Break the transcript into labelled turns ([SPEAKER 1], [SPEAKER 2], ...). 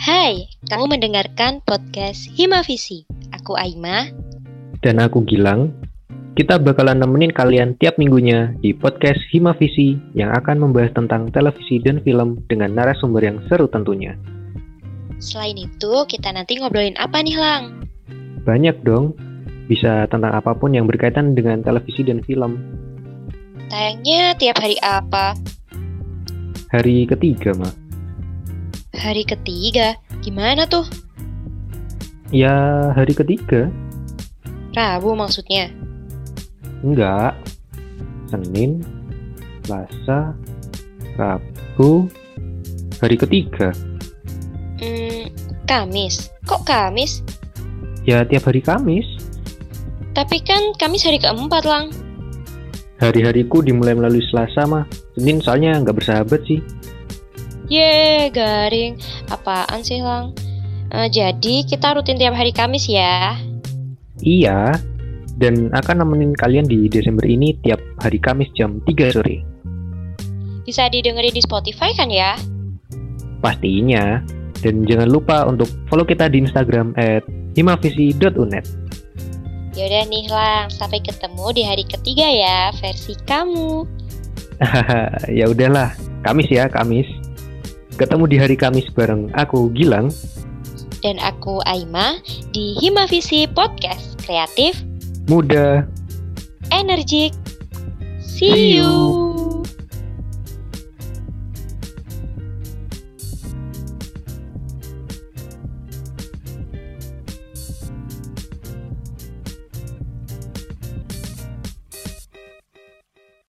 [SPEAKER 1] Hai, kamu mendengarkan podcast Himavisi. Aku Aima.
[SPEAKER 2] Dan aku Gilang. Kita bakalan nemenin kalian tiap minggunya di podcast Himavisi yang akan membahas tentang televisi dan film dengan narasumber yang seru tentunya.
[SPEAKER 1] Selain itu, kita nanti ngobrolin apa nih, Lang?
[SPEAKER 2] Banyak dong, bisa tentang apapun yang berkaitan dengan televisi dan film.
[SPEAKER 1] Tayangnya tiap hari apa?
[SPEAKER 2] Hari ketiga mah.
[SPEAKER 1] Hari ketiga. Gimana tuh?
[SPEAKER 2] Ya, hari ketiga?
[SPEAKER 1] Rabu maksudnya.
[SPEAKER 2] Enggak. Senin, Selasa, Rabu, hari ketiga.
[SPEAKER 1] Hmm, Kamis. Kok Kamis?
[SPEAKER 2] Ya, tiap hari Kamis.
[SPEAKER 1] Tapi kan Kamis hari keempat, Lang.
[SPEAKER 2] Hari-hariku dimulai melalui Selasa mah. Senin soalnya nggak bersahabat sih.
[SPEAKER 1] Ye, garing. Apaan sih, Lang? Eh, jadi kita rutin tiap hari Kamis ya.
[SPEAKER 2] Iya, dan akan nemenin kalian di Desember ini tiap hari Kamis jam 3 sore.
[SPEAKER 1] Bisa didengerin di Spotify kan ya?
[SPEAKER 2] Pastinya. Dan jangan lupa untuk follow kita di Instagram at himavisi.unet.
[SPEAKER 1] Yaudah nih, Lang. Sampai ketemu di hari ketiga ya, versi kamu.
[SPEAKER 2] Hahaha, ya udahlah, Kamis ya, Kamis. Ketemu di hari Kamis bareng aku Gilang.
[SPEAKER 1] Dan aku Aima di Himavisi Podcast Kreatif
[SPEAKER 2] Muda
[SPEAKER 1] Energik. See,
[SPEAKER 2] See you.
[SPEAKER 1] you.